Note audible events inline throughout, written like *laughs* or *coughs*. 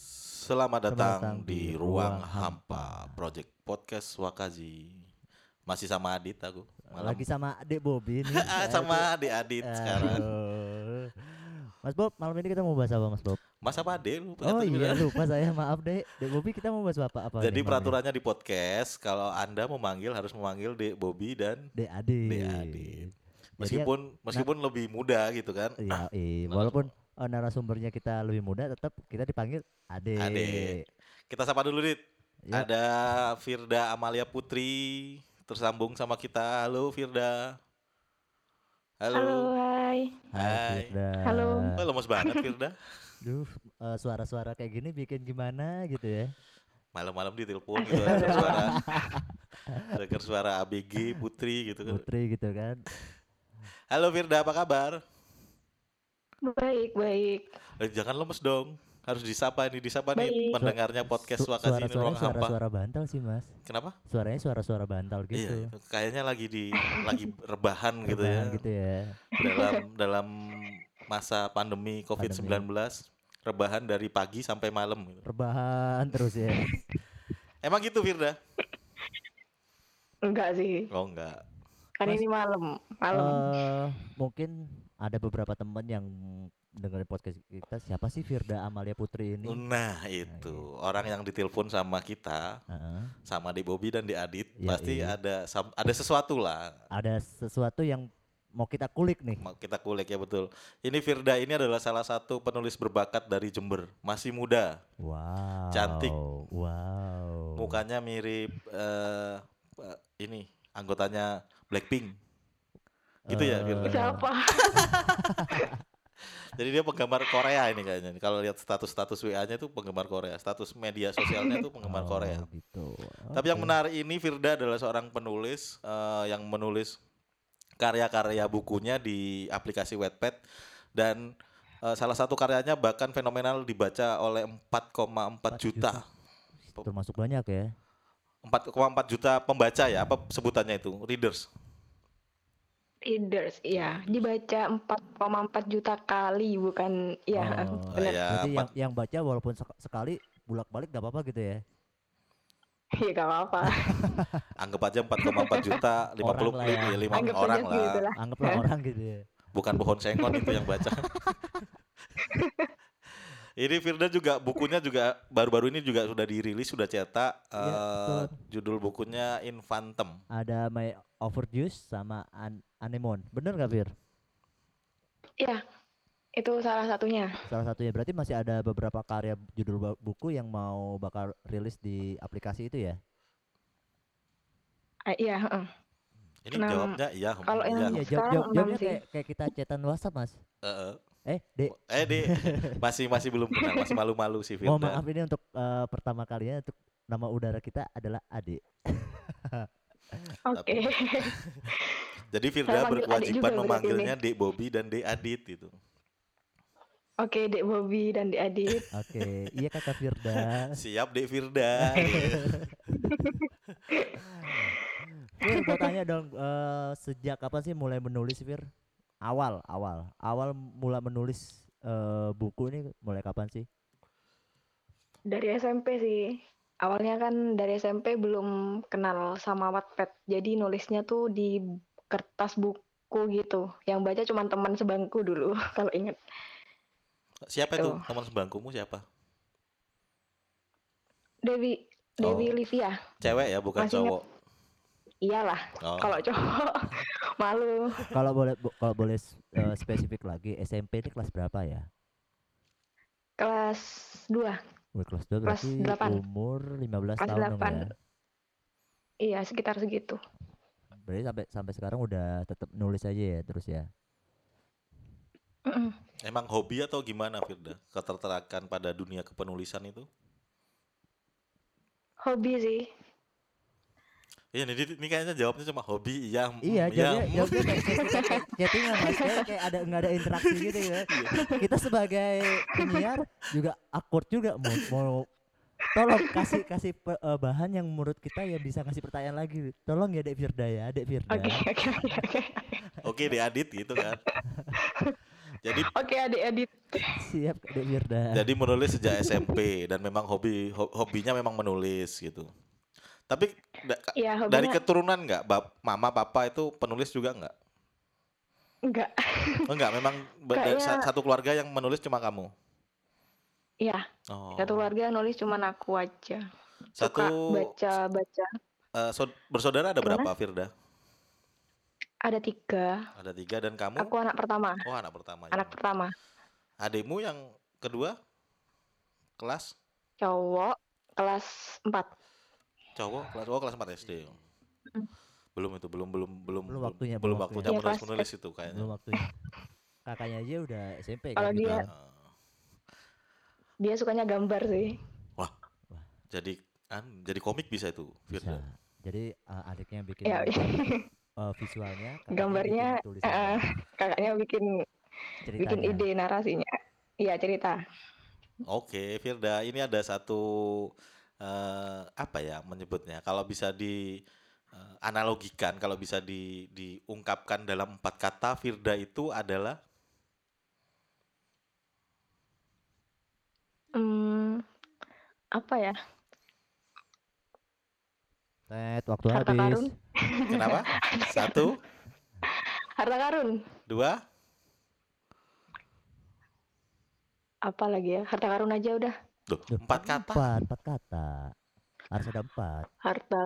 Selamat datang, datang di di Ruang Ruang Hampa, Project Podcast Wakazi. Masih sama Adit aku. Malam. Lagi Eh. sama Dek Bobi nih. *laughs* Ah, sama Adit Adit Aduh. sekarang. Mas Bob, malam ini kita mau bahas apa Mas Bob? Mas apa Adit lu? Oh Kata dia iya bilang. lupa saya, maaf Dek. Dek Bobi kita mau bahas apa apa? Jadi nih malam peraturannya di podcast kalau Anda memanggil harus memanggil Dek Bobby dan ini? Dek Adit. Dek Adit. Jadi- ya, meskipun meskipun nah. lebih muda gitu kan. Iya, iya. walaupun eh, narasumbernya kita lebih muda tetap kita dipanggil Ade. Adek. Kita sapa dulu Dit. Ya. Ada Firda Amalia Putri tersambung sama kita. Halo Firda. Halo. Halo, hai. Hai. Firda. Halo. Wah, lemes banget Firda. Duh, eh, suara-suara kayak gini bikin gimana gitu ya. Malam-malam ditelepon gitu ada suara dengar suara ABG Putri gitu kan. Putri gitu kan. Halo Firda, apa kabar? Baik, baik. Eh, jangan lemes dong. Harus disapa nih, disapa nih Baik. pendengarnya podcast Su- Wakasi ini suara-suaranya ruang hampa. suara-suara bantal sih, Mas. Kenapa? Suaranya suara-suara bantal Iya, gitu. itu. kayaknya lagi *laughs* di lagi rebahan gitu ya. Rebahan gitu ya. dalam dalam masa pandemi COVID-19 rebahan dari pagi sampai malam gitu. Rebahan terus ya. Emang gitu Firda? Enggak sih, Oh enggak. kan Mas- ini malam. Malam. Eh mungkin ada beberapa teman yang dengerin podcast kita. Siapa sih Firda Amalia Putri ini? Nah, iya. itu orang yang ditelepon sama kita, Heeh. sama Dek Bobby dan Dek Adit, Iya, pasti iya. ada sam- ada sesuatu lah Ada sesuatu yang mau kita kulik nih. mau kita kulik ya betul. Ini Firda ini adalah salah satu penulis berbakat dari Jember, masih muda, Wow. Cantik. Wow. mukanya mirip eh, eh, ini anggotanya Blackpink. Gitu ya Eh. Firda. Siapa? Jadi dia penggemar Korea ini kayaknya. nih. Kalau lihat status-status WA-nya itu penggemar Korea, status media sosialnya itu penggemar Oh, Korea. Gitu. Tapi yang Oke. menarik ini Firda adalah seorang penulis eh, yang menulis karya-karya bukunya di aplikasi Wattpad dan eh, salah satu karyanya bahkan fenomenal dibaca oleh 4,4 juta. juta. termasuk banyak ya. 4,4 juta pembaca ya, apa sebutannya itu? Readers. Readers, iya. Dibaca 4,4 juta kali, bukan... Iya, Oh, Eh, *laughs* ya, Berarti benar. yang empat- yang baca walaupun sek- sekali bolak-balik gak apa-apa gitu ya. Iya, gak apa-apa. anggap aja 4,4 juta 50 *laughs* Orang lah ya. eh, lima Anggap orang aja lah. gitu lah. Anggaplah Ya. orang gitu ya. bukan pohon sengon itu yang *laughs* baca. ini Firda juga bukunya juga baru-baru ini juga sudah dirilis, sudah cetak. Iya, eh, judul bukunya Infantem. Ada My Overdose sama An- Anemon. Bener gak Fir? Iya, itu salah satunya. Salah satunya berarti masih ada beberapa karya judul ba- buku yang mau bakal rilis di aplikasi itu ya. Ah, Iya, heeh. Ini Nah, jawabnya iya. hmm, kalau yang- iya. Iya, jawab sekarang jawab- enam jawabnya sih. kayak, kayak kita chatan WhatsApp mas. Eh, eh. Eh, Dek, Eh, Di, *laughs* masih masih belum kenal, masih malu-malu si Firda. mohon maaf ini untuk eh, pertama kalinya untuk nama udara kita adalah Ade. Oke. *laughs* Jadi Saya Firda panggil Adik juga berkewajiban berarti memanggilnya Dek Bobby dan Dek Adit *laughs* gitu. Oke, Dek Bobby dan Dek Adit. Oke, iya kakak Firda. Siap Dek *laughs* Firda. Iya. Fir, mau tanya dong, eh, sejak kapan sih mulai menulis Fir? Awal, awal, awal mula menulis eh, buku ini mulai kapan sih? Dari SMP sih. Awalnya kan dari SMP belum kenal sama Wattpad. Jadi nulisnya tuh di kertas buku gitu. Yang baca cuma teman sebangku dulu *laughs* kalau inget. Siapa itu? Tuh. Teman sebangkumu siapa? Dewi Dewi Oh. Livia. Cewek ya, bukan Masih ingat. cowok. Iyalah, Oh. kalau cowok *laughs* malu. Kalau boleh bo- kalau boleh s- eh, spesifik lagi SMP ini kelas berapa ya? Kelas 2. Wih, kelas 2 Kelas berarti delapan. umur 15 Kelas tahun dong delapan. ya. Iya, sekitar segitu. Berarti sampai sampai sekarang udah tetap nulis aja ya terus ya. Mm-mm. Emang hobi atau gimana Firda? Ketertarikan pada dunia kepenulisan itu? Hobi sih. Iya, ini, ini kayaknya jawabnya cuma hobi, iya, mm, Iya, jawabnya mm. jawabnya *laughs* kayak kayak kita kayak chattingan mas, kayak, kayak ada nggak ada interaksi gitu ya. Kita sebagai penyiar juga awkward juga mau, mau tolong kasih kasih pe- eh, bahan yang menurut kita yang bisa kasih pertanyaan lagi. Tolong ya *laughs* Dek Firda ya, Dek Firda. Oke, oke, oke, oke. *laughs* Oke, Dek Adit gitu kan. Jadi Oke, adik-adik. Siap Kak Dek Firda. jadi menulis sejak SMP dan memang hobi ho- hobinya memang menulis gitu. Tapi da- ka- Iya, hobinya dari keturunan nggak, bab- mama papa itu penulis juga nggak? *laughs* enggak. Oh, Enggak, memang be- dari sa- Kayaknya- satu keluarga yang menulis cuma kamu. Iya, Oh. satu keluarga nulis cuman aku aja. Satu Suka baca-baca. eh, saud- bersaudara ada Gimana? berapa, Firda? Ada tiga. Ada tiga dan kamu? Aku anak pertama. Oh, anak pertama. Anak Yang- pertama. Adikmu yang kedua? Kelas Cowok kelas 4. cowok kelas oh kelas 4 SD. Belum itu, belum belum belum Belum waktunya, belum belum waktunya waktunya. Ya, Iya, menulis kelas- menulis itu kayaknya. Belum waktunya. Kakaknya aja udah SMP kan. Kalau gitu dia- kan. Ah, Dia sukanya gambar sih. Jadi an, jadi komik bisa itu, Bisa. Firda. Nah, Jadi uh, adiknya yang bikin Ya, uh, visualnya, kakaknya Gambarnya, bikin tulisannya, eh, kakaknya bikin bikin ceritanya. ide narasinya. Iya, cerita. Oke, Firda, ini ada satu eh, apa ya menyebutnya? Kalau bisa di eh, analogikan, kalau bisa di diungkapkan dalam empat kata, Firda itu adalah Hmm, apa ya? Tet, waktu Harta habis. karun. kenapa? *laughs* Satu, Harta karun. dua, Apa lagi ya? Harta karun aja udah. Duh, Duh, empat kata. Empat, empat kata. Harus ada empat. Harta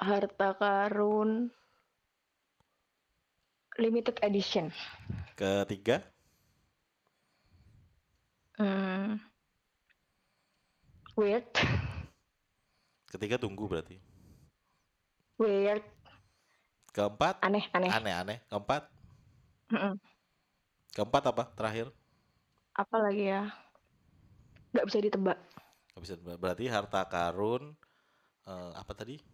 harta karun limited edition. Ketiga, Hmm. Weird, ketiga tunggu berarti. weird, Keempat, aneh, aneh. aneh-aneh. Keempat, Mm-mm. keempat apa? Terakhir. Apa lagi ya? Gak bisa ditebak. Nggak bisa, berarti harta karun eh, apa tadi?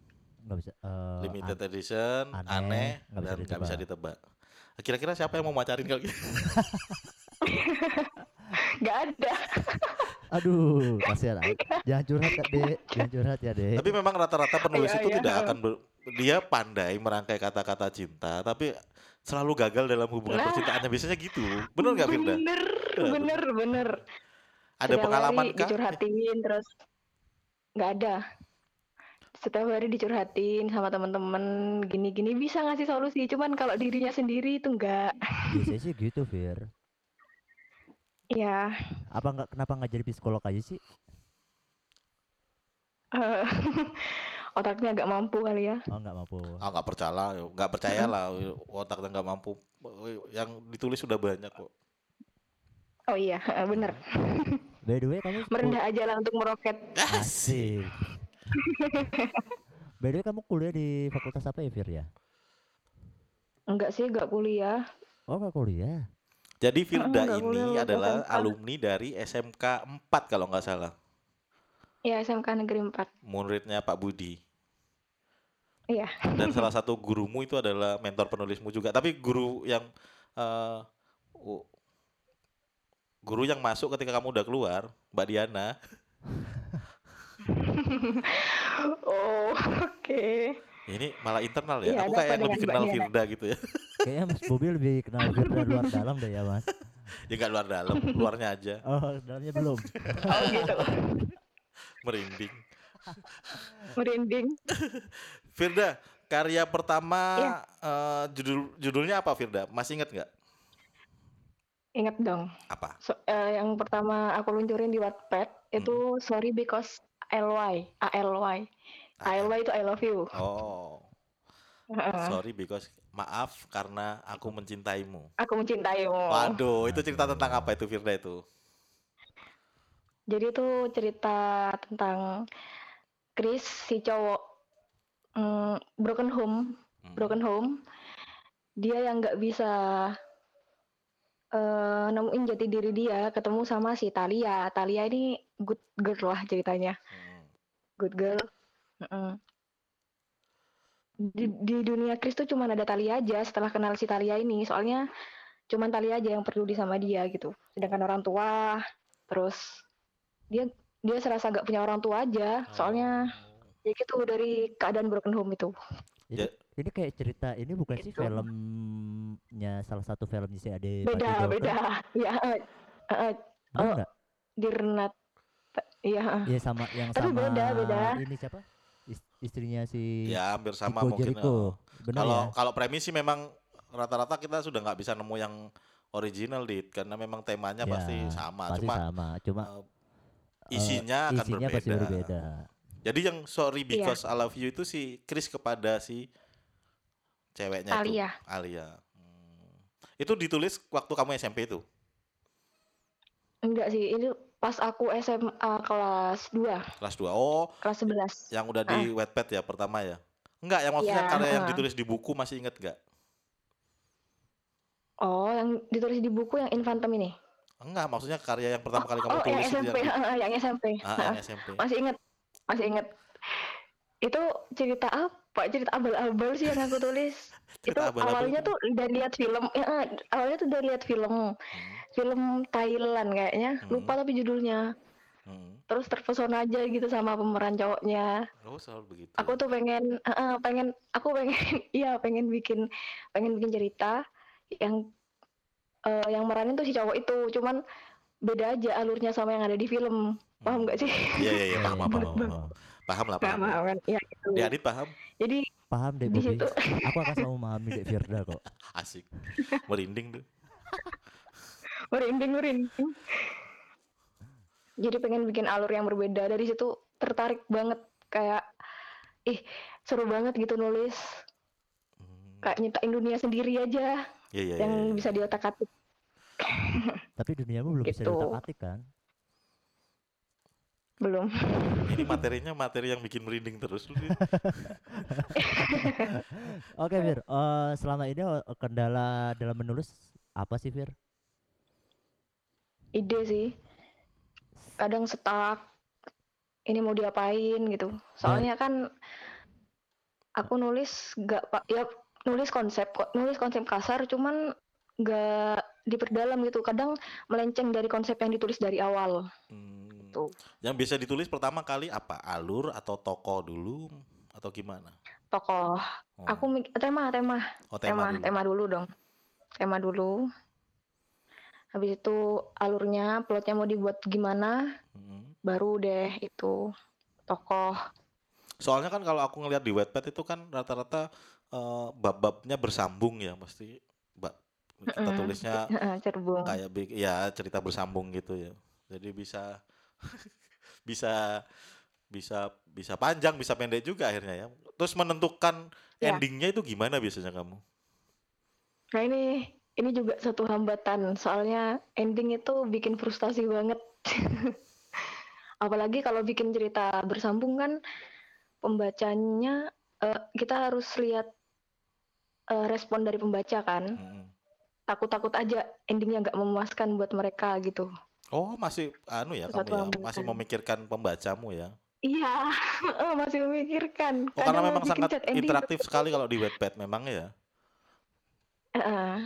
Nggak bisa. eh, limited an- edition, aneh, aneh, nggak bisa dan nggak bisa ditebak. Kira-kira siapa yang mau macarin kalau *laughs* gitu? Gak ada. Aduh, kasihan. *laughs* ah. Jangan curhat Kak Dek. Jangan curhat ya Dek. Tapi memang rata-rata penulis Iya, itu iya. tidak akan ber- dia pandai merangkai kata-kata cinta, tapi selalu gagal dalam hubungan Nah. percintaannya. Biasanya gitu. Benar nggak Firda? Bener, Bener. bener, bener. Ada Setiap pengalaman hari kah? Dicurhatin terus. Gak ada. Setiap hari dicurhatin sama temen-temen gini-gini bisa ngasih solusi. Cuman kalau dirinya sendiri itu enggak. Biasanya sih gitu, Fir. Ya, Apa nggak kenapa nggak jadi psikolog aja sih? eh, *laughs* otaknya agak mampu kali ya. Oh, nggak mampu. Ah nggak percaya, nggak percaya lah. Otaknya nggak mampu. Yang ditulis sudah banyak kok. Oh iya, eh, bener. By the way, kamu kul- Merendah aja lah untuk meroket. Asik. *laughs* By the way, kamu kuliah di fakultas apa ya, Fir ya? Enggak sih, enggak kuliah. Oh, nggak kuliah. Jadi Firda nggak boleh ini lewat adalah SMK. alumni dari SMK 4 kalau nggak salah. Ya, SMK Negeri 4. Muridnya Pak Budi. Iya. dan salah satu gurumu itu adalah mentor penulismu juga tapi guru yang eh, u- guru yang masuk ketika kamu udah keluar Mbak Diana *laughs* Oh, oke. ini malah internal ya Iya, aku ada kayak apa yang lebih kenal dengan Mbak Diana? Firda gitu ya *laughs* Kayaknya Mas Bobi lebih kenal Fir dari luar dalam deh ya, Mas. ya nggak luar dalam luarnya aja Oh, dalamnya belum. Oh gitu. merinding Merinding. Firda karya pertama Iya. eh, judul judulnya apa Firda masih ingat nggak Ingat dong. apa So- eh, yang pertama aku luncurin di Wattpad itu Sorry Because ALY. ALY. ALY itu I love Uh-huh. you. oh Heeh. sorry because maaf karena aku mencintaimu aku mencintaimu. waduh itu cerita tentang apa itu Firda itu Jadi itu cerita tentang Chris si cowok mm, broken home, Hmm. broken home. Dia yang nggak bisa eh, nemuin jati diri dia, ketemu sama si Talia. Talia ini good girl lah ceritanya. Mm. Good Girl. Mm-mm. Di, di dunia Chris tuh cuman ada Talia aja setelah kenal si Talia ini. Soalnya cuman Talia aja yang peduli sama dia gitu. Sedangkan orang tua, terus dia dia serasa gak punya orang tua aja. Soalnya ya gitu dari keadaan broken home itu Ini, Ja- ini kayak cerita ini bukan sih Itu. filmnya salah satu filmnya si Ade beda Patidoko? beda *laughs* ya eh, eh, Bener Oh, nggak? Dirnat ya Iya sama yang tapi sama beda, beda. ini siapa? Is- istrinya si ya hampir sama Chico mungkin. Iya, Jericho. eh. Benar Kalau ya? kalau premis sih memang rata-rata kita sudah nggak bisa nemu yang original dit karena memang temanya Ya, pasti sama, Pasti cuma sama, cuma eh, isinya akan isinya berbeda. pasti berbeda. Jadi yang sorry Iya. because I love you itu si Chris kepada si ceweknya Alia itu Alia. Hmm. Itu ditulis waktu kamu SMP itu. enggak sih ini pas aku SMA kelas 2 Kelas 2. Oh, kelas 11 yang udah di Wattpad ya pertama ya. Enggak, yang maksudnya Ah. Iya, karya yang heeh. ditulis di buku masih inget nggak? oh yang ditulis di buku yang infantem ini Enggak, maksudnya karya yang pertama kali kamu oh yang tulis itu SMP *laughs* yang, yang SMP Ah, yang SMP. masih inget masih inget itu cerita apa cerita abal-abal sih yang aku tulis *laughs* itu Cerita abal-abal awalnya itu. tuh dari lihat film ya, eh, awalnya tuh dari lihat film Hmm, film Thailand kayaknya lupa tapi judulnya hmm. terus terpesona aja gitu sama pemeran cowoknya Oh, selalu begitu. aku tuh pengen eh, eh, pengen aku pengen *laughs* iya pengen bikin pengen bikin cerita yang eh, yang meranin tuh si cowok itu cuman beda aja alurnya sama yang ada di film Hmm. paham gak sih *laughs* Iya, iya, iya, paham, Iya, paham, iya. paham, paham. Paham lah, Gak paham. paham kan ya gitu. Ya, Adit paham. jadi Paham deh di Bobby. situ Aku akan selalu memahami Dek Firda kok. Asik. Merinding tuh. merinding merinding jadi pengen bikin alur yang berbeda dari situ tertarik banget kayak ih seru banget gitu nulis Hmm. kayak nyiptain dunia sendiri aja Iya, iya, iya. yang iya. bisa diotak atik Tapi duniamu belum bisa Gitu. diutak-atik kan? belum Ini materinya materi yang bikin merinding terus lu. Dit. Oke Iya. Fir, Eh, selama ini eh, kendala dalam menulis apa sih Fir? ide sih kadang stuck ini mau diapain gitu soalnya kan aku nulis gak pak ya nulis konsep kok nulis konsep kasar cuman gak diperdalam gitu kadang melenceng dari konsep yang ditulis dari awal Hmm. Tuh. Yang bisa ditulis pertama kali apa? Alur atau toko dulu atau gimana? tokoh Oh, aku mik- tema tema oh, tema dulu. tema dulu dong tema dulu habis itu alurnya plotnya mau dibuat gimana Mm-mm. baru deh itu tokoh Soalnya kan kalau aku ngelihat di Wattpad itu kan rata-rata eh, bab-babnya bersambung ya pasti. Mbak kita Mm-mm. tulisnya Mm. *laughs* cerbung kayak bi- ya cerita bersambung gitu ya. Jadi bisa *laughs* bisa bisa bisa panjang, bisa pendek juga akhirnya ya. Terus menentukan Ya. endingnya itu gimana biasanya kamu? Nah ini ini juga satu hambatan soalnya ending itu bikin frustasi banget. *laughs* Apalagi kalau bikin cerita bersambung kan pembacanya eh, kita harus lihat eh, respon dari pembaca kan. Mm-mm. Takut-takut aja endingnya nggak memuaskan buat mereka gitu. Oh masih anu ya kamu Satu ya hambatan. masih memikirkan pembacamu ya. Iya, *laughs* eh, masih memikirkan. Oh karena Kadang memang bikin sangat chat ending itu- interaktif sekali kalau di Wattpad memang ya. Eh, eh.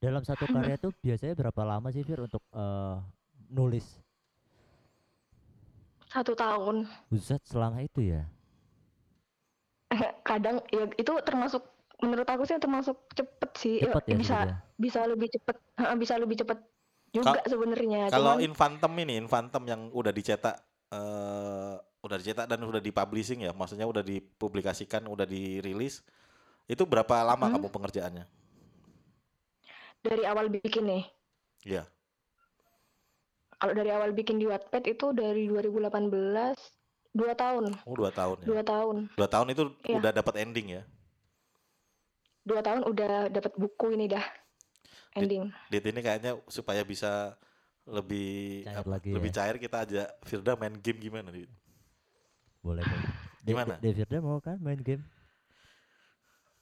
Dalam satu Hmm. karya tuh biasanya berapa lama sih Fir untuk eh, nulis? satu tahun. *laughs* Buset selama itu ya. Kadang ya itu termasuk menurut aku sih termasuk cepet sih. Ya, Cepet ya bisa sebenarnya. bisa lebih cepet heeh, bisa lebih cepet juga sebenarnya Kalau Nah, cuman Infantem ini Infantem yang udah dicetak eh udah dicetak dan udah dipublishing ya, maksudnya udah dipublikasikan, udah dirilis. Itu berapa lama Hmm. kamu pengerjaannya? dari awal bikin nih Iya. kalau dari awal bikin di Wattpad itu dari 2018 dua tahun Oh, dua tahun ya. dua tahun Dua tahun itu Iya. udah dapat ending ya. dua tahun udah dapat buku ini dah Di- ending Dit ini kayaknya supaya bisa lebih Cair apa, lagi lebih ya. cair kita ajak Firda main game gimana Dit? Boleh boleh. Dek- Gimana? Dek Firda mau kan main game?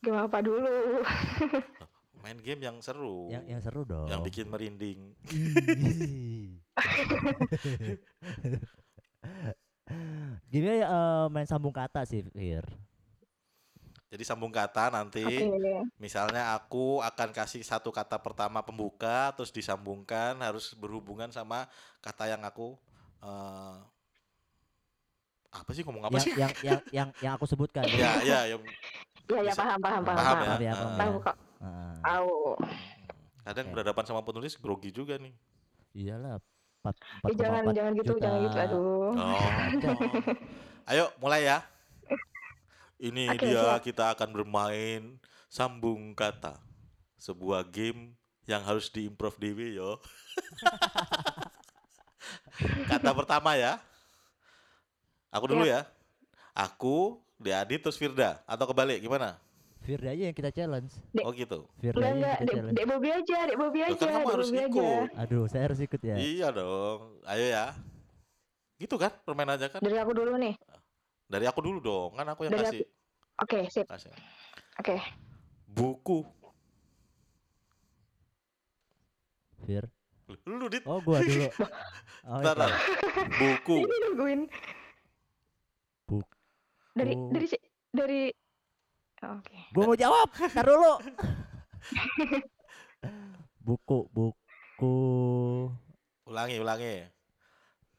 gimana apa dulu Main game yang seru. Yang yang seru dong. yang bikin merinding. Ih. Gimana ya eh, main sambung kata sih Fir? Jadi sambung kata nanti oke misalnya aku akan kasih satu kata pertama pembuka terus disambungkan harus berhubungan sama kata yang aku eh, apa sih ngomong apa yang, sih? yang yang yang yang aku sebutkan. Ya, ya, yang Ya ya Bisa. paham paham paham. Paham ya? Maaf ya, Ah. Tahu Bang, ya. kok. Ah, Tahu. kadang Oke. berhadapan sama penulis grogi juga nih. iyalah. Empat Eh, jangan jangan gitu juta. jangan gitu aduh. Oh. Ayo mulai *laughs* ya. Ini Oke, dia siap. kita akan bermain sambung kata. Sebuah game yang harus diimprov dewe yo. *laughs* kata pertama ya. Aku dulu Iya. ya. Aku, Deadi terus Firda atau kebalik gimana? Firda aja yang kita challenge. Oh gitu. Firda aja Enggak enggak yang kita Dek challenge. Dek Bobi aja, Dek Bobi Loh, aja, kan Dek kamu harus Bobi aja. ikut. Aduh, saya harus ikut ya. Iya dong. Ayo ya. Gitu kan permainannya kan? Dari aku dulu nih. Dari aku dulu dong. Kan aku yang Dari kasih. Oke, sip. kasih. Oke. Buku. Fir. Lu dit. Oh, gua *laughs* dulu. Oh, Bentar, iya. bentar. Buku. Ini nungguin. Buku. Dari dari si- dari Oh, Oke. Gua mau jawab. Ntar *laughs* dulu. buku, buku. Ulangi, ulangi.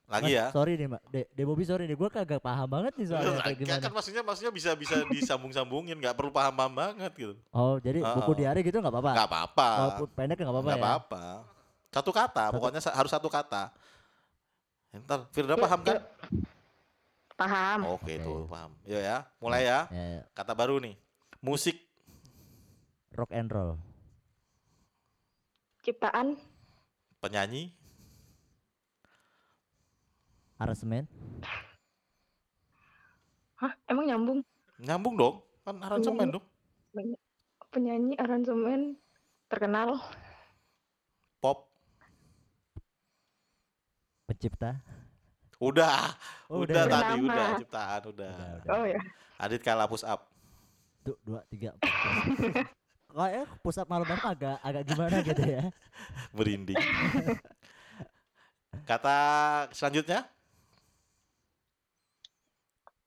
Lagi Mas, ya. Sorry nih, Mbak. De, De Bobby sorry nih. Gua kagak paham banget nih soalnya Enggak, kayak gimana. kan maksudnya maksudnya bisa bisa disambung-sambungin, nggak perlu paham-paham banget gitu. Oh, jadi Ah, buku ah. diari gitu nggak apa-apa. Nggak apa-apa. Walaupun pendek nggak apa-apa Nggak ya. apa-apa. Satu kata, Satu- pokoknya sa- harus satu kata. Ntar Firda Yuk, paham kan? yuk. Paham. Oke Eh, tuh, Oke. paham. Yuk ya, mulai ya. Ya, ya. Kata baru nih. Musik rock and roll, Ciptaan penyanyi aransemen, Hah, emang nyambung nyambung dong kan aransemen dong penyanyi aransemen terkenal pop pencipta. udah Oh, udah ya? tadi Nama. udah ciptaan udah, Udah, udah. oh ya Adit kalah push up Tuh, dua, tiga, empat. Kayaknya pusat malam malam agak agak gimana gitu ya. merinding kata selanjutnya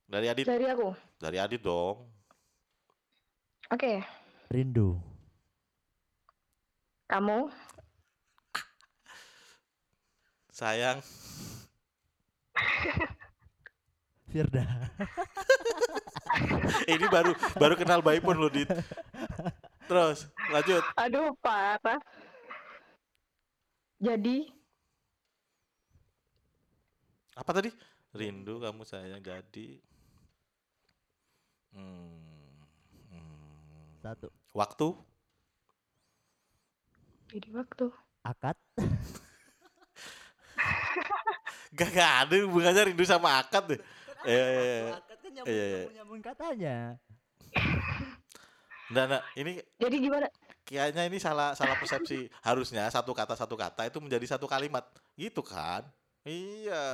dari Adit dari aku oke dari Adit dong Rindu, kamu sayang *laughs* Firda, ini baru baru kenal baik pun lo Dit terus lanjut aduh parah jadi apa tadi rindu kamu sayang jadi Hmm, hmm. satu, waktu jadi waktu akad, Gak, gak ada hubungannya rindu sama akad deh. Iya, iya, iya. akad kan Iya, iya. nyambung nyambung katanya. Nah, nah, ini jadi gimana kayaknya ini salah salah persepsi. Harusnya satu kata satu kata itu menjadi satu kalimat. Gitu kan? Iya.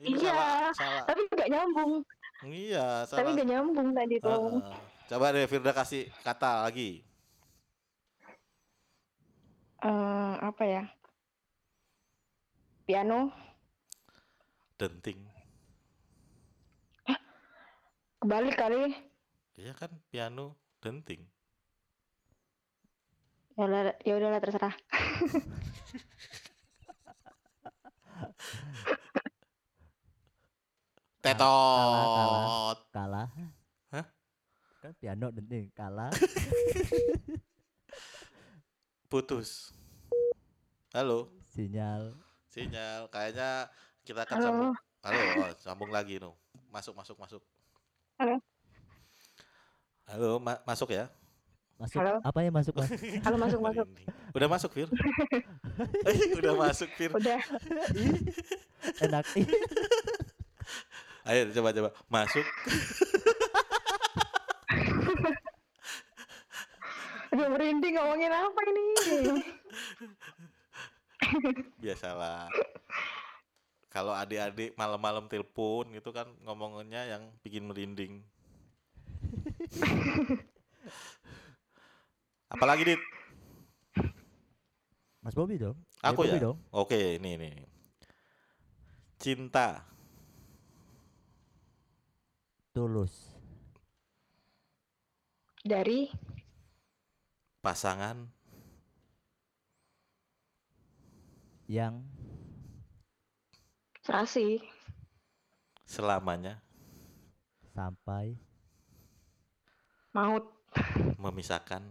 Ini Iya. salah salah. tapi nggak nyambung Iya, tapi salah. nggak gitu. nyambung tadi tuh Heeh. Coba deh Firda kasih kata lagi. Eh, apa ya piano Denting. kebalik kali Iya kan piano denting. ya udah ya udahlah terserah kalah. Tetot. Kalah. Hah? Kan piano penting. *laughs* Kalah. Putus. Halo, Sinyal. sinyal. Kayaknya kita akan sambung. halo Halo, oh, sambung lagi no. Masuk, masuk, masuk. Halo. Halo, ma- masuk ya. Masuk. Halo. Apa yang masuk *laughs* mas? halo masuk masuk Merinding. Udah masuk, *laughs* Fir. Eh, Udah masuk, Fir. udah Enak. Ayo coba coba. Masuk. udah merinding ngomongin apa ini Biasalah. Kalau adik-adik malam-malam telepon gitu kan ngomongnya yang bikin *laughs* merinding. Apalagi Dit? mas Bobby dong. Eh, Aku Bobby ya. Dong. Oke, ini ini. ini. Cinta, Tulus. dari pasangan, Yang serasi selamanya sampai maut *laughs* memisahkan.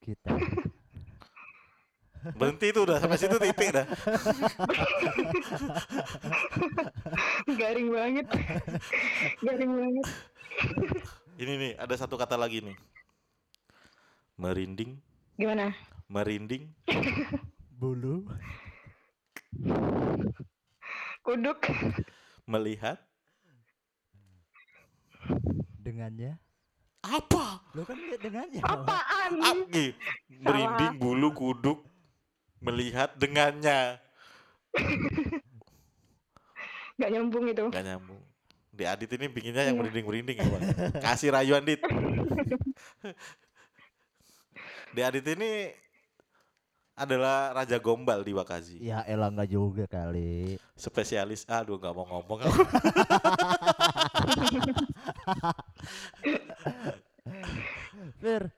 kita Berhenti itu udah sampai situ titik dah. garing banget garing banget Ini nih ada satu kata lagi nih. Merinding, gimana merinding, bulu kuduk melihat dengannya. apa? Lo kan lihat dengannya. apaan Apgi merinding bulu kuduk melihat dengannya. nggak nyambung itu *laughs* Gak nyambung. Di Adit ini bikinnya yang Iya. merinding-merinding ya, Bang. Kasih rayuan, Dit. Di Adit ini adalah raja gombal di Wakazi. Iya. Ya elah nggak juga kali. Spesialis. Aduh, nggak mau ngomong aku. *laughs* Fir. eh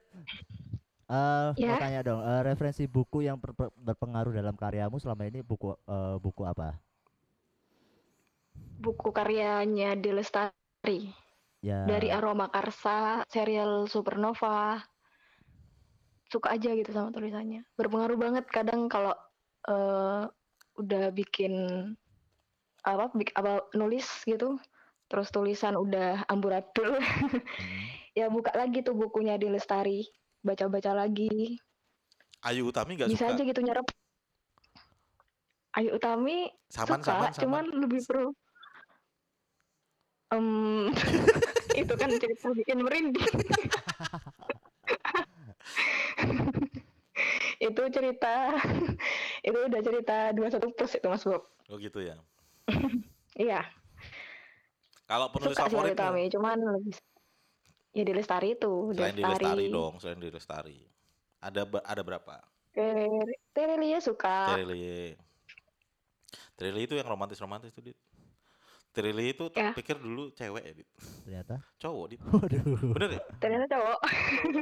mau Ya? tanya dong, eh, referensi buku yang ber- ber- berpengaruh dalam karyamu selama ini buku eh, buku apa? buku karyanya di lestari Ya. dari aroma karsa serial supernova suka aja gitu sama tulisannya berpengaruh banget kadang kalau eh, udah bikin apa, bik- apa nulis gitu terus tulisan udah amburadul *laughs* ya buka lagi tuh bukunya di lestari baca-baca lagi Ayu Utami nggak bisa suka. aja gitu nyerap Ayu Utami Saman, saman, suka saman. cuman lebih pro Em, *laughs* itu kan cerita bikin merinding *laughs* itu cerita itu udah cerita 21 plus itu mas Bob Oh gitu ya. iya Kalau penulis suka sih Ayu favorit Utami cuman lebih ya di lestari itu selain di Lestari dong, selain di Lestari. Ada ba- ada berapa? Ter- Terelia suka Tirili. Tirili itu yang romantis-romantis tuh, Dit. Tirili itu tak Ya. pikir dulu cewek ya, Dit. Ternyata. *laughs* Cowok, Dit. Waduh. Bener ya? ternyata cowok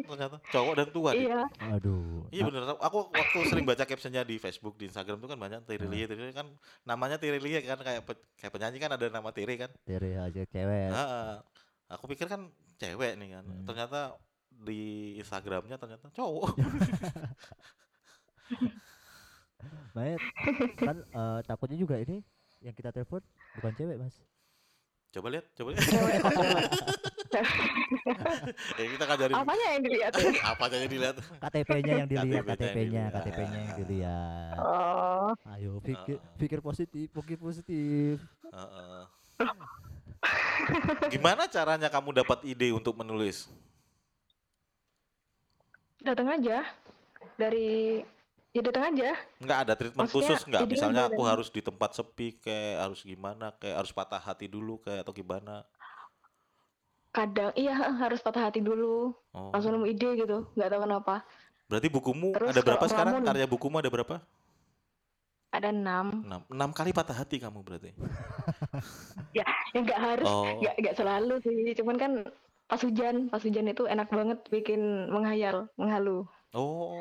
Ternyata cowok dan tua, Dit. iya Aduh. Iya bener, aku waktu sering baca captionnya di Facebook, di Instagram tuh kan banyak Tirili, Tirili kan namanya Tirili kan kayak pe- kayak penyanyi kan ada nama Tiri kan. Dari ya, aja cewek. Ah, aku pikir kan cewek nih kan, Iya. Hmm. ternyata di Instagramnya ternyata cowok. Baik. kan eh, takutnya juga ini yang kita telepon bukan cewek, Mas. coba lihat, coba lihat. *laughs* ya kita ngajarin apanya yang dilihat *laughs* apa aja dilihat. KTP-nya yang dilihat, KTP-nya yang KTP-nya, dilihat. KTP-nya yang dilihat. oh Ayo pikir iya. Ah. pikir positif, pikir positif. Heeh. Gimana caranya kamu dapat ide untuk menulis? datang aja dari ya datang aja Enggak ada treatment Maksudnya, khusus enggak? ide kan Misalnya aku boleh. harus di tempat sepi kayak harus gimana? Kayak harus patah hati dulu kayak atau gimana? kadang iya harus patah hati dulu Oh. langsung nemu ide gitu nggak tahu kenapa Berarti bukumu Terus ada berapa kalau sekarang? ngelamun- Karya bukumu ada berapa? ada enam 6. 6 kali patah hati kamu berarti. ya nggak harus Oh. nggak nggak selalu sih cuman kan pas hujan pas hujan itu enak banget bikin menghayal menghalu Oh,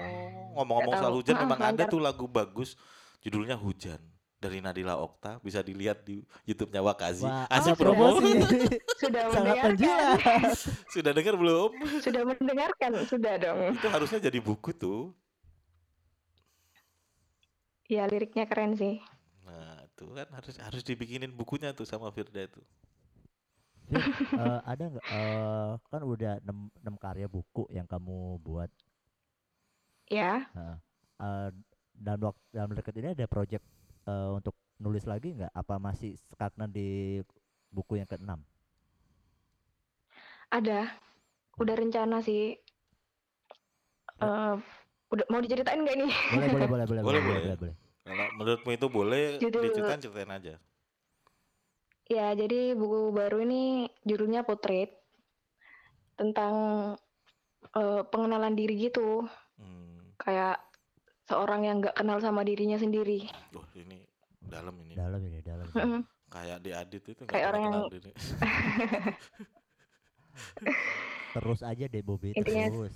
ngomong-ngong Nggak soal tahu. hujan Ah, memang ada lancar. tuh lagu bagus judulnya Hujan dari Nadila Okta bisa dilihat di YouTube-nya Wakazi. Wah, Asik apa promo. promosi. sudah Sangat mendengarkan penjilat. *laughs* Sudah dengar belum? *laughs* sudah mendengarkan sudah dong Itu harusnya jadi buku tuh. ya liriknya keren sih Nah, itu kan harus harus dibikinin bukunya tuh sama Firda itu. Vin, eh, ada nggak eh, kan udah 6, karya buku yang kamu buat ya Eh, dalam waktu dalam dekat ini ada project eh, untuk nulis lagi nggak apa masih stagnan di buku yang keenam ada udah rencana sih Eh, udah mau diceritain nggak ini boleh boleh boleh boleh Boleh, boleh. boleh Kalau menurutmu itu boleh Judul- diceritain ceritain aja. Ya, jadi buku baru ini judulnya Potret tentang eh, pengenalan diri gitu, Hmm. kayak seorang yang nggak kenal sama dirinya sendiri. Duh, ini dalam ini. dalam ini dalam ini. Mm-mm. Kayak di Adit itu nggak Kayak pernah orang kenal yang- diri. terus aja deh Bobby Intinya- terus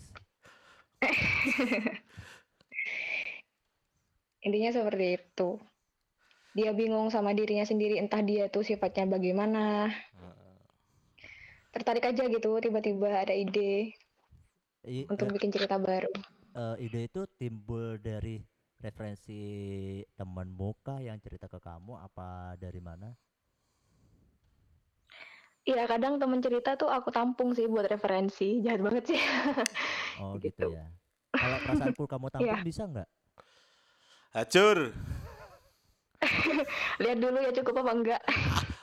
Intinya seperti itu. Dia bingung sama dirinya sendiri, entah dia tuh sifatnya bagaimana. tertarik aja gitu tiba-tiba ada ide I- untuk eh, bikin cerita baru eh, ide itu timbul dari referensi teman muka yang cerita ke kamu apa dari mana? Iya kadang temen cerita tuh aku tampung sih buat referensi jahat banget sih *laughs* Oh Gitu. gitu, ya. Kalau perasaanku kamu tampung bisa nggak? Hancur. lihat dulu ya cukup apa enggak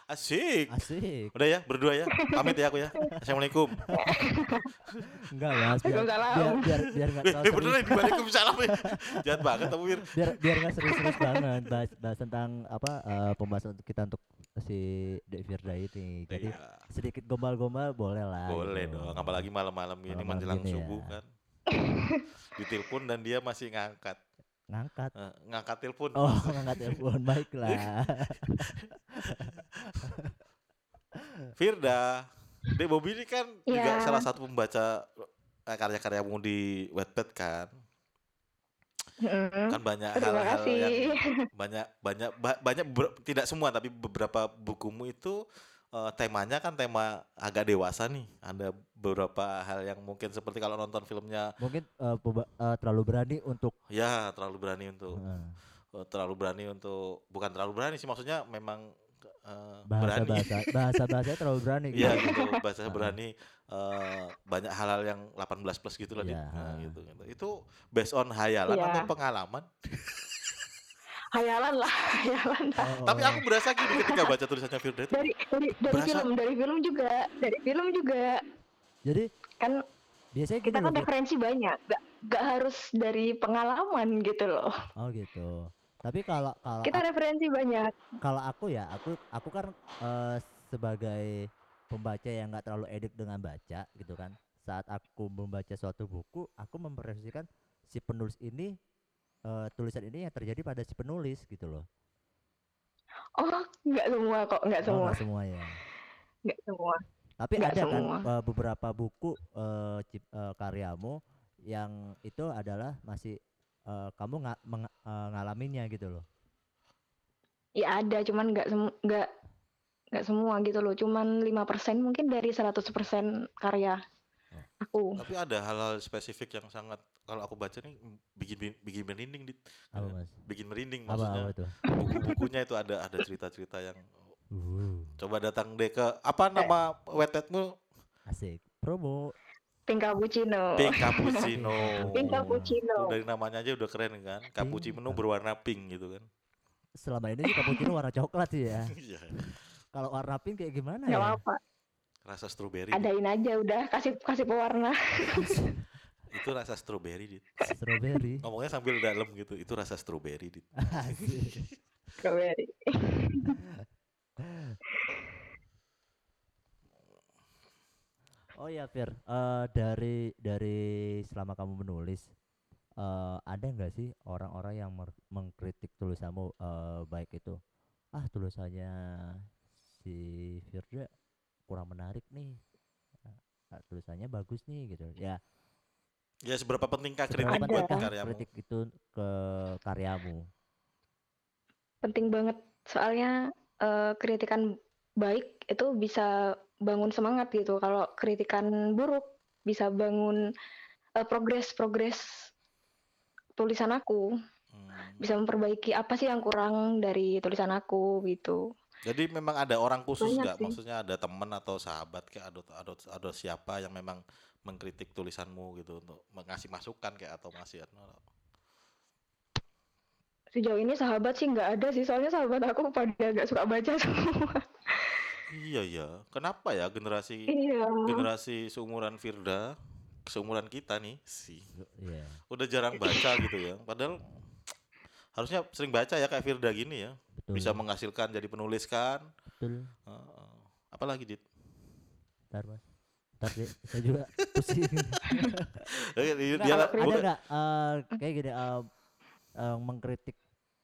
Asik. Asik. Udah ya, berdua ya. Pamit ya aku ya. *laughs* Assalamualaikum. Enggak mas. Biar Waalaikumsalam. biar biar biar *laughs* nggak Eh, terlalu eh, beneran serius. Waalaikumsalam. eh. Jahat banget kamu, Wir. Biar biar nggak serius-serius banget bahas, bahas tentang apa eh, pembahasan untuk kita untuk si Devirda ini. Jadi Iya, sedikit gombal-gombal boleh lah. Ya, boleh gitu. dong. Apalagi malam-malam gini Malam-malam menjelang gini subuh ya. *laughs* kan. Ditelepon dan dia masih ngangkat. Ngangkat. Eh, ngangkat telepon. Oh *laughs* ngangkat telepon Iya. baiklah. Firda, Dek Bobby ini kan juga Iya. salah satu pembaca eh, karya-karyamu di Wattpad kan. Mm-mm. Kan banyak Hmm. terima hal-hal *laughs* yang kasih banyak banyak ba- banyak ber- tidak semua tapi beberapa bukumu itu eh, temanya kan tema agak dewasa nih. Ada beberapa hal yang mungkin seperti kalau nonton filmnya Mungkin eh, pemba- eh, terlalu berani untuk. ya terlalu berani untuk eh, eh, terlalu berani untuk bukan terlalu berani sih maksudnya memang eh, bahasa bahasa bahasa bahasa terlalu berani gitu. Iya gitu *laughs* bahasa Heeh. berani eh, banyak hal-hal yang 18 plus gitu lah Dit. Nah, Iya, heeh. gitu, gitu. Itu based on hayalan Iya. atau pengalaman? hayalan lah *laughs* hayalan lah. Oh, Tapi oh. aku berasa gini ketika baca tulisannya Firda *laughs* itu dari dari dari Berasa- film dari film juga dari film juga jadi kan biasanya kita gini Hmm. kan loh, Beb. referensi banyak gak, gak harus dari pengalaman gitu loh Oh gitu. Tapi kalau Ah, kalau kita referensi banyak kalau aku ya aku aku kan eh, sebagai pembaca yang nggak terlalu edik dengan baca gitu kan saat aku membaca suatu buku aku memperhatikan si penulis ini eh, tulisan ini yang terjadi pada si penulis gitu loh oh nggak semua kok nggak Ah, Oh, semua nggak semua ya nggak semua tapi Nggak ada kan semua. eh, beberapa buku eh, cip- eh, karyamu yang itu adalah masih eh, kamu nggak meng- eh, ngalaminnya gitu loh ya ada cuman nggak semu nggak nggak semua gitu loh cuman 5% mungkin dari 100% karya Ah. aku tapi ada hal-hal spesifik yang sangat kalau aku baca nih mm, bikin bikin merinding Dit. apa Iya. Eh, mas bikin merinding apa maksudnya. apa tuh Buku-bukunya itu ada ada cerita-cerita yang uh, coba datang deh ke Iya. apa nama wetpetmu? asik promo pink cappuccino Pink Cappuccino. pink Tuh, cappuccino dari namanya aja udah keren kan. Cappuccino Pink. berwarna pink gitu kan. *laughs* selama ini sih cappuccino warna coklat sih ya. Iya. Kalau warna pink kayak gimana nggak ya? apa-apa Rasa stroberi. Dit. adain aja udah kasih kasih pewarna *laughs* Itu rasa stroberi, Dit. Strawberry. Ngomongnya sambil dalam gitu. Itu rasa stroberi, Dit. Asik. Strawberry. oh ya Fir, Eh, dari dari selama kamu menulis eh ada nggak sih orang-orang yang mer- mengkritik tulisanmu eh, baik itu ah tulisannya si Firda kurang menarik nih Ah, tulisannya bagus nih gitu ya Ya seberapa pentingkah kritik seberapa Ada. buat pentingkah karyamu? kritik itu ke karyamu penting banget soalnya eh, kritikan baik itu bisa bangun semangat gitu kalau kritikan buruk bisa bangun eh, progres progres tulisan aku Hmm. bisa memperbaiki apa sih yang kurang dari tulisan aku gitu Jadi memang ada orang khusus Banyak nggak? sih. Maksudnya ada teman atau sahabat kayak ada ada ada siapa yang memang mengkritik tulisanmu gitu untuk mengasih masukan kayak atau ngasih sejauh ini sahabat sih nggak ada sih soalnya sahabat aku pada nggak suka baca *laughs* semua Iya ya. Kenapa ya generasi iya generasi seumuran Firda, seumuran kita nih sih Iya. udah jarang baca gitu ya. Padahal harusnya sering baca ya kayak Firda gini ya. betul Bisa menghasilkan jadi penulis kan. betul Heeh. Apalagi Dit? Ntar mas Ntar deh, saya *laughs* juga pusing Eh, dia- Nggak, dia kalau Ada bukan- nggak eh, kayak gini eh, eh, mengkritik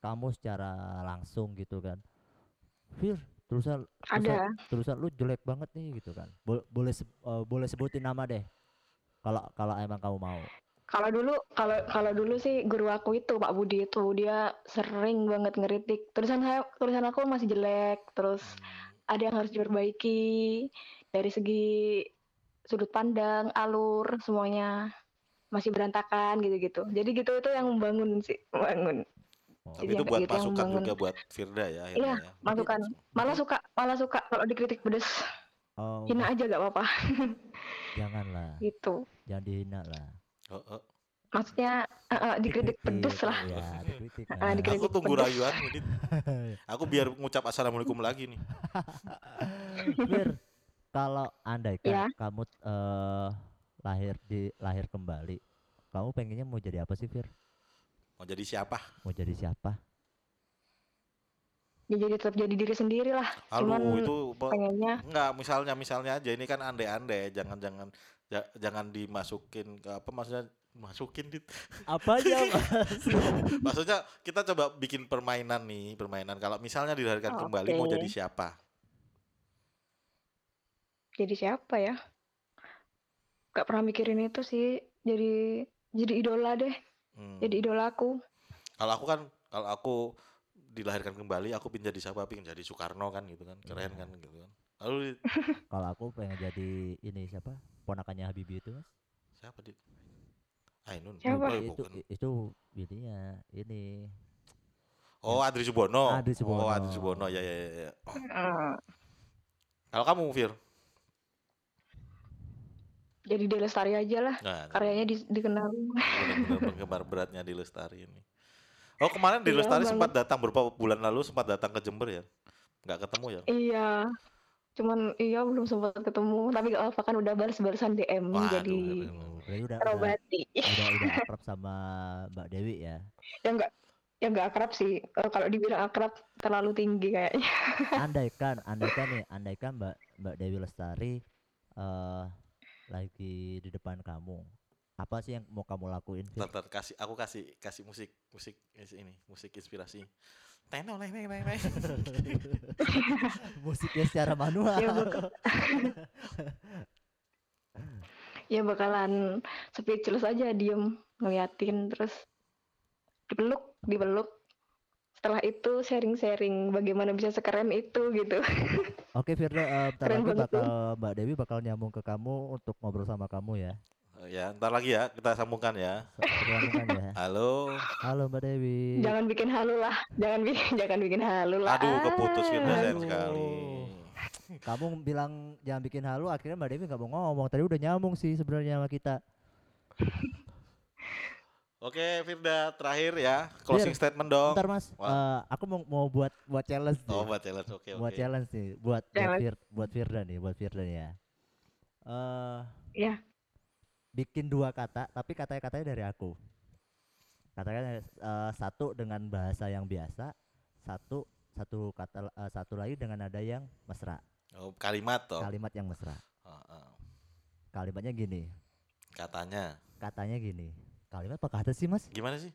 kamu secara langsung gitu kan Fir tulisan ada tulisan, tulisan lu jelek banget nih gitu kan Bo- boleh se- eh, boleh sebutin nama deh kalau kalau emang kamu mau Kalau dulu, kalau kalau dulu sih guru aku itu Pak Budi itu dia sering banget ngeritik tulisan saya, tulisan aku masih jelek, terus ada yang harus diperbaiki dari segi sudut pandang, alur, semuanya masih berantakan gitu-gitu. Jadi gitu itu yang membangun sih, membangun. Tapi Jadi itu yang buat kayak gitu yang masukan membangun. Iya. juga buat Firda ya akhirnya ya. Masukan. Malah suka, malah suka kalau dikritik pedes. Oh, Hina aja gak apa-apa janganlah, gitu. jangan dihina lah. Oh, oh. Maksudnya eh, eh, dikritik pedes lah. Ya, dikritik. lah. Ah, dikritik. Aku tunggu pedes. rayuan Dit. *laughs* Aku biar ngucap assalamualaikum lagi nih. *laughs* Bir, kalau andaikan Ya. kamu eh, lahir di lahir kembali, kamu pengennya mau jadi apa sih, Fir? Mau jadi siapa? Mau jadi siapa? Ya jadi tetap jadi diri sendiri lah. Halo Cuman itu pe- Pengennya enggak misalnya misalnya aja ini kan andai-andai jangan-jangan ja- jangan dimasukin ke apa maksudnya masukin dit *laughs* Apa aja? maksudnya kita coba bikin permainan nih permainan kalau misalnya dilahirkan Oh, kembali mau oke. jadi siapa jadi siapa ya? Gak pernah mikirin itu sih. Jadi jadi idola deh. Hmm. Jadi idolaku. kalau aku kan kalau aku dilahirkan kembali aku pin jadi siapa pin jadi Soekarno kan gitu kan keren Iya. kan gitu kan lalu Dit, *laughs* kalau aku pengen jadi ini siapa? Ponakannya Habibie itu, Mas. siapa dit Ainun Siapa? Oh, itu bukan. i- itu ininya ini oh Adri Subono Adri oh Subono. Adri Subono ya ya ya, ya Oh. Hmm. kalau kamu Fir Jadi Deli Lestari aja lah. nah, Karyanya di- dikenal. benar-benar penggemar beratnya di Lestari ini. Oh kemarin di Iya, Lestari Bang. sempat datang beberapa bulan lalu sempat datang ke Jember ya? Nggak ketemu ya? iya. Cuman iya belum sempat ketemu. Tapi gak apa kan udah balas-balasan DM. Waduh, jadi keren. oh, berarti udah udah, terobati. *laughs* udah udah akrab sama Mbak Dewi ya. yang nggak yang nggak akrab sih Eh, kalau dibilang akrab terlalu tinggi kayaknya *laughs* Andaikan, andaikan nih, andaikan Mbak Mbak Dewi Lestari eh lagi di depan kamu. Apa sih yang mau kamu lakuin? Fir? Ntar, ntar, kasih aku kasih kasih musik musik ini musik inspirasi. Tenong neng neng neng neng. *laughs* Musiknya secara manual. ya bakal *laughs* ya bakalan speechless aja diem ngeliatin terus dipeluk dipeluk setelah itu sharing-sharing bagaimana bisa sekeren itu gitu Oke Firda, eh, bentar Keren lagi banget tuh. bakal Mbak Dewi bakal nyambung ke kamu untuk ngobrol sama kamu ya. Oh, ya ntar lagi ya kita sambungkan ya. So- perkenalkan ya. Halo. Halo Mbak Iya. Dewi. *laughs* jangan bikin halu lah jangan bikin *laughs* jangan bikin halu lah Ah. Aduh keputus gitu. Firda sayang Aduh. sekali. Kamu bilang jangan bikin halu, akhirnya Mbak Dewi nggak mau ngomong. Tadi udah nyambung sih sebenarnya sama kita. Oke Firda terakhir ya Iya. closing statement dong. Bentar Mas, Wah. eh, aku mau mau buat buat challenge nih. Oh buat challenge oke oke. buat challenge nih, buat buat, Challenge. Fir- buat Firda nih, buat Firda nih ya. Eh, ya bikin dua kata, tapi katanya-katanya dari aku. Katakan eh, satu dengan bahasa yang biasa, satu satu kata eh, satu lagi dengan nada yang mesra, Oh, kalimat toh. kalimat yang mesra. Oh, oh. Kalimatnya gini, Katanya katanya gini. Kalimat apa kata sih Mas? gimana sih?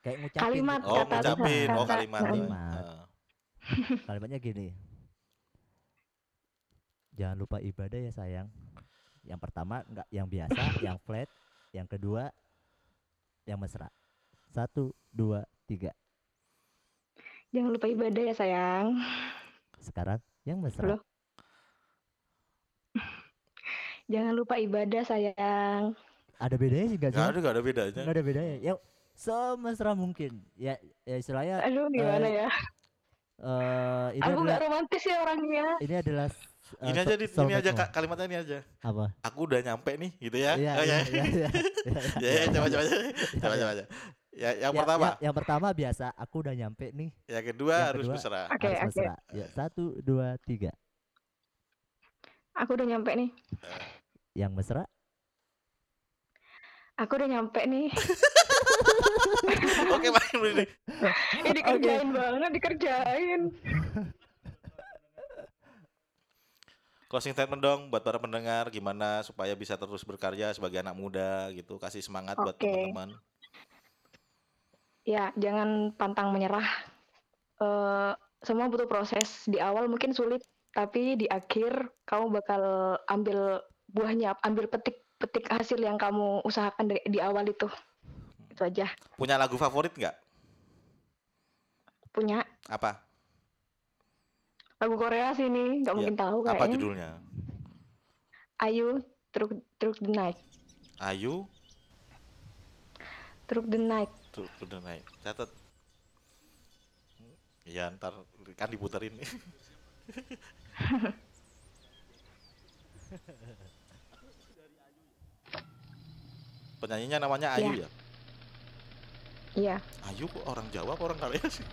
Kayak ngucapin. Kalimat, gitu. Oh Kata- ngucapin oh kata- kalimat. kalimat. Ah. kalimatnya gini jangan lupa ibadah ya sayang yang pertama nggak yang *coughs* biasa yang flat yang kedua yang mesra satu dua tiga jangan lupa ibadah ya sayang sekarang yang mesra Loh. jangan lupa ibadah sayang ada bedanya sih nggak sih Gak ada, gak ada bedanya. nggak ada bedanya yang semesra mungkin ya, ya istilahnya aduh gimana Eh, ya eh, ini aku adalah nggak romantis ya orangnya ini adalah s- eh, Ini aja, so- Dit, ini aja soulmate-mu. Kak, kalimatnya ini aja. apa Aku udah nyampe nih, gitu ya. Iya, Oh, iya, ya. iya, iya, iya, *laughs* Ya, ya, iya. coba coba *laughs* aja. Coba iya. coba aja. Ya, yang Ya, pertama, ya- yang pertama biasa aku udah nyampe nih yang kedua yang harus kedua. berserah. Oke, harus oke. mesra ya satu dua tiga aku udah nyampe nih yang mesra aku udah nyampe *laughs* nih *laughs* Oke, main dulu nih. ini Eh, dikerjain banget dikerjain Closing statement dong buat para pendengar gimana supaya bisa terus berkarya sebagai anak muda gitu. Kasih semangat buat Oke. teman-teman. ya jangan pantang menyerah Eh, semua butuh proses di awal mungkin sulit tapi di akhir kamu bakal ambil buahnya ambil petik petik hasil yang kamu usahakan dari, di awal itu itu aja Punya lagu favorit nggak? punya Apa? lagu Korea sih nih nggak Iya, mungkin tahu Ya, Apa kayaknya judulnya? Ayu Truk Truk the Night. Ayu Truk the Night. tuh udah naik catat ya ntar kan diputerin penyanyinya namanya Ayu ya, Iya. Ayu kok orang Jawa apa orang Korea sih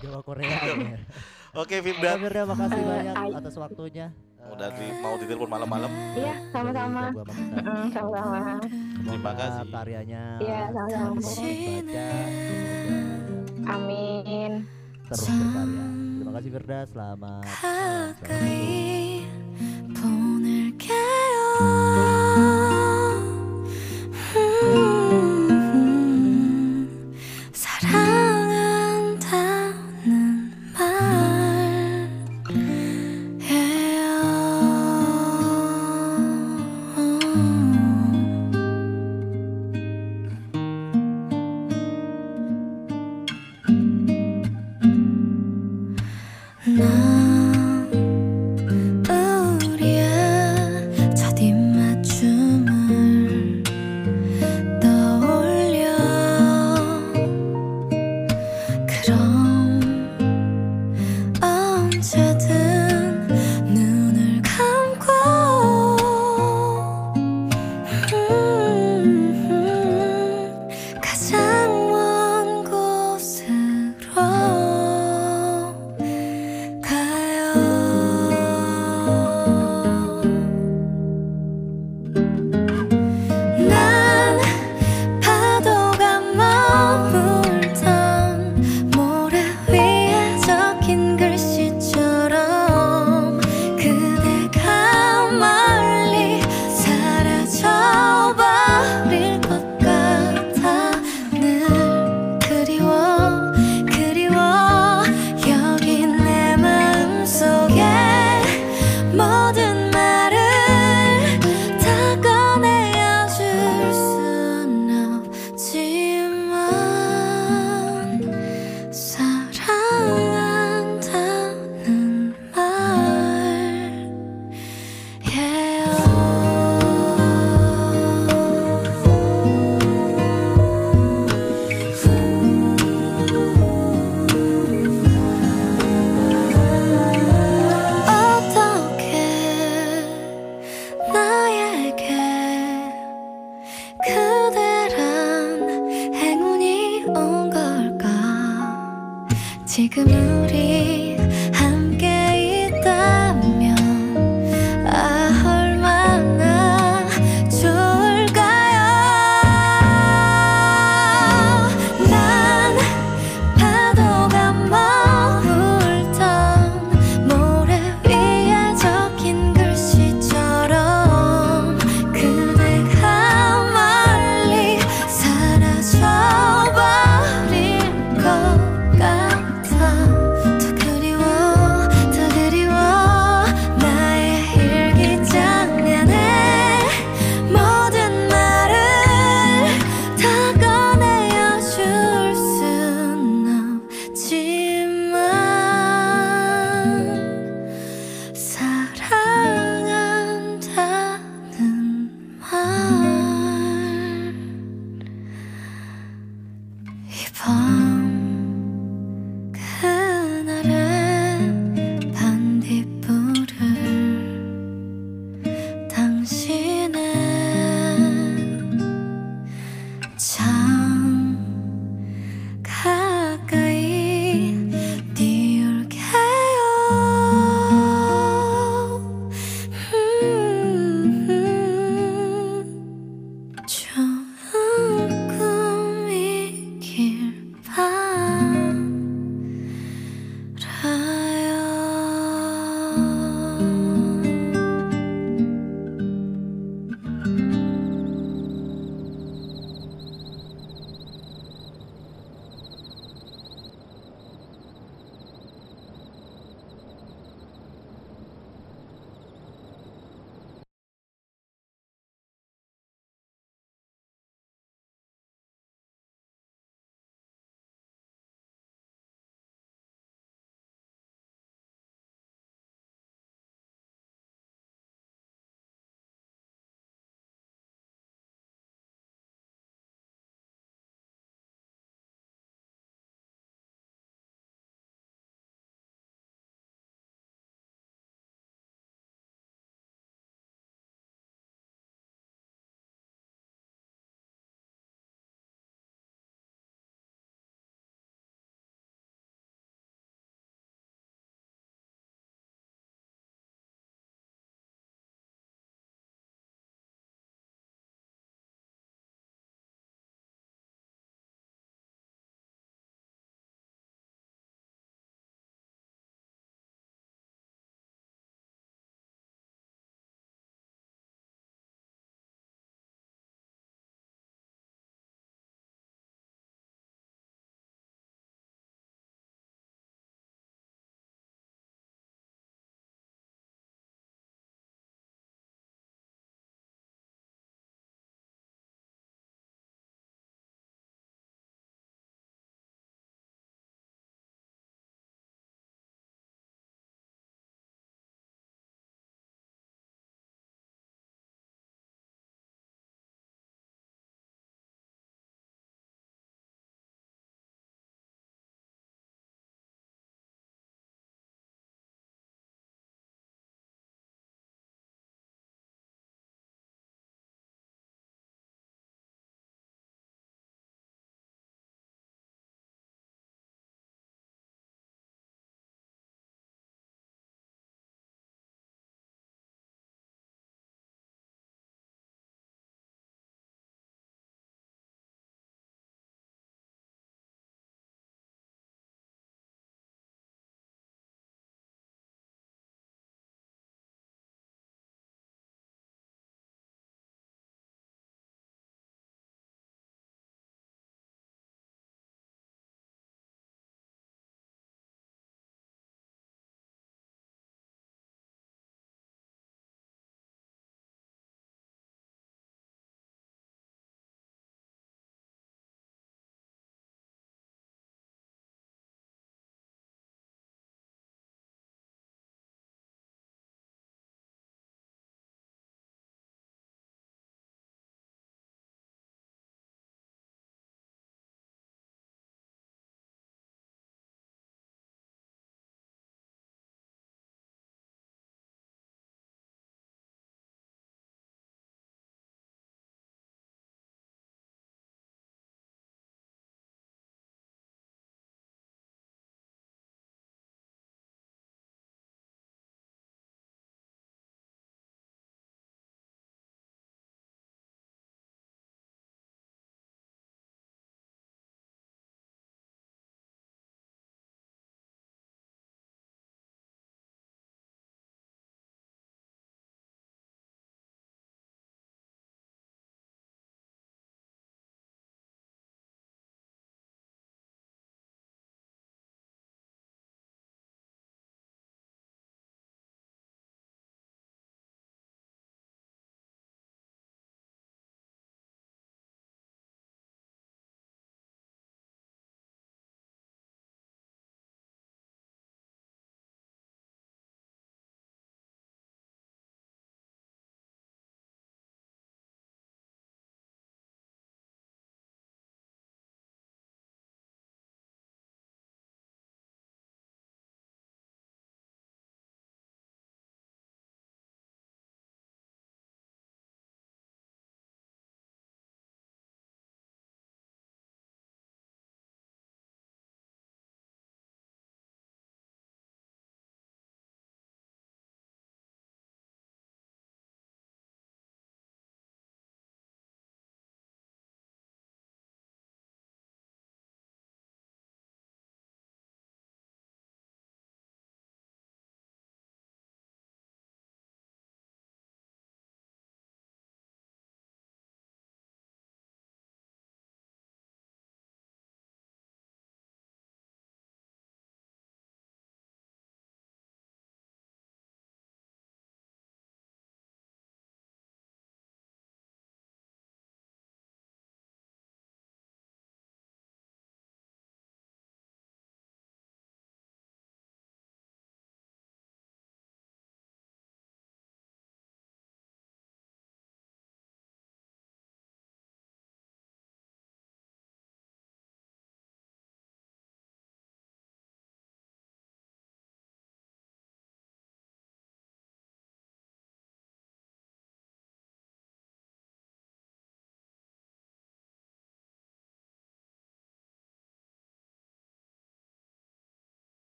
Jawa Korea ya. oke Oke, Firda Firda makasih Eh, banyak Ayu. atas waktunya. udah di- mau ditelepon malam-malam Iya, sama-sama. Gua maksa. Mm, sama-sama. Terima Semoga kasih. karyanya Iya, sama-sama. terus dibaca, Amin. terus berkarya. Terima kasih Firda, selamat. malam, selamat tidur. 你。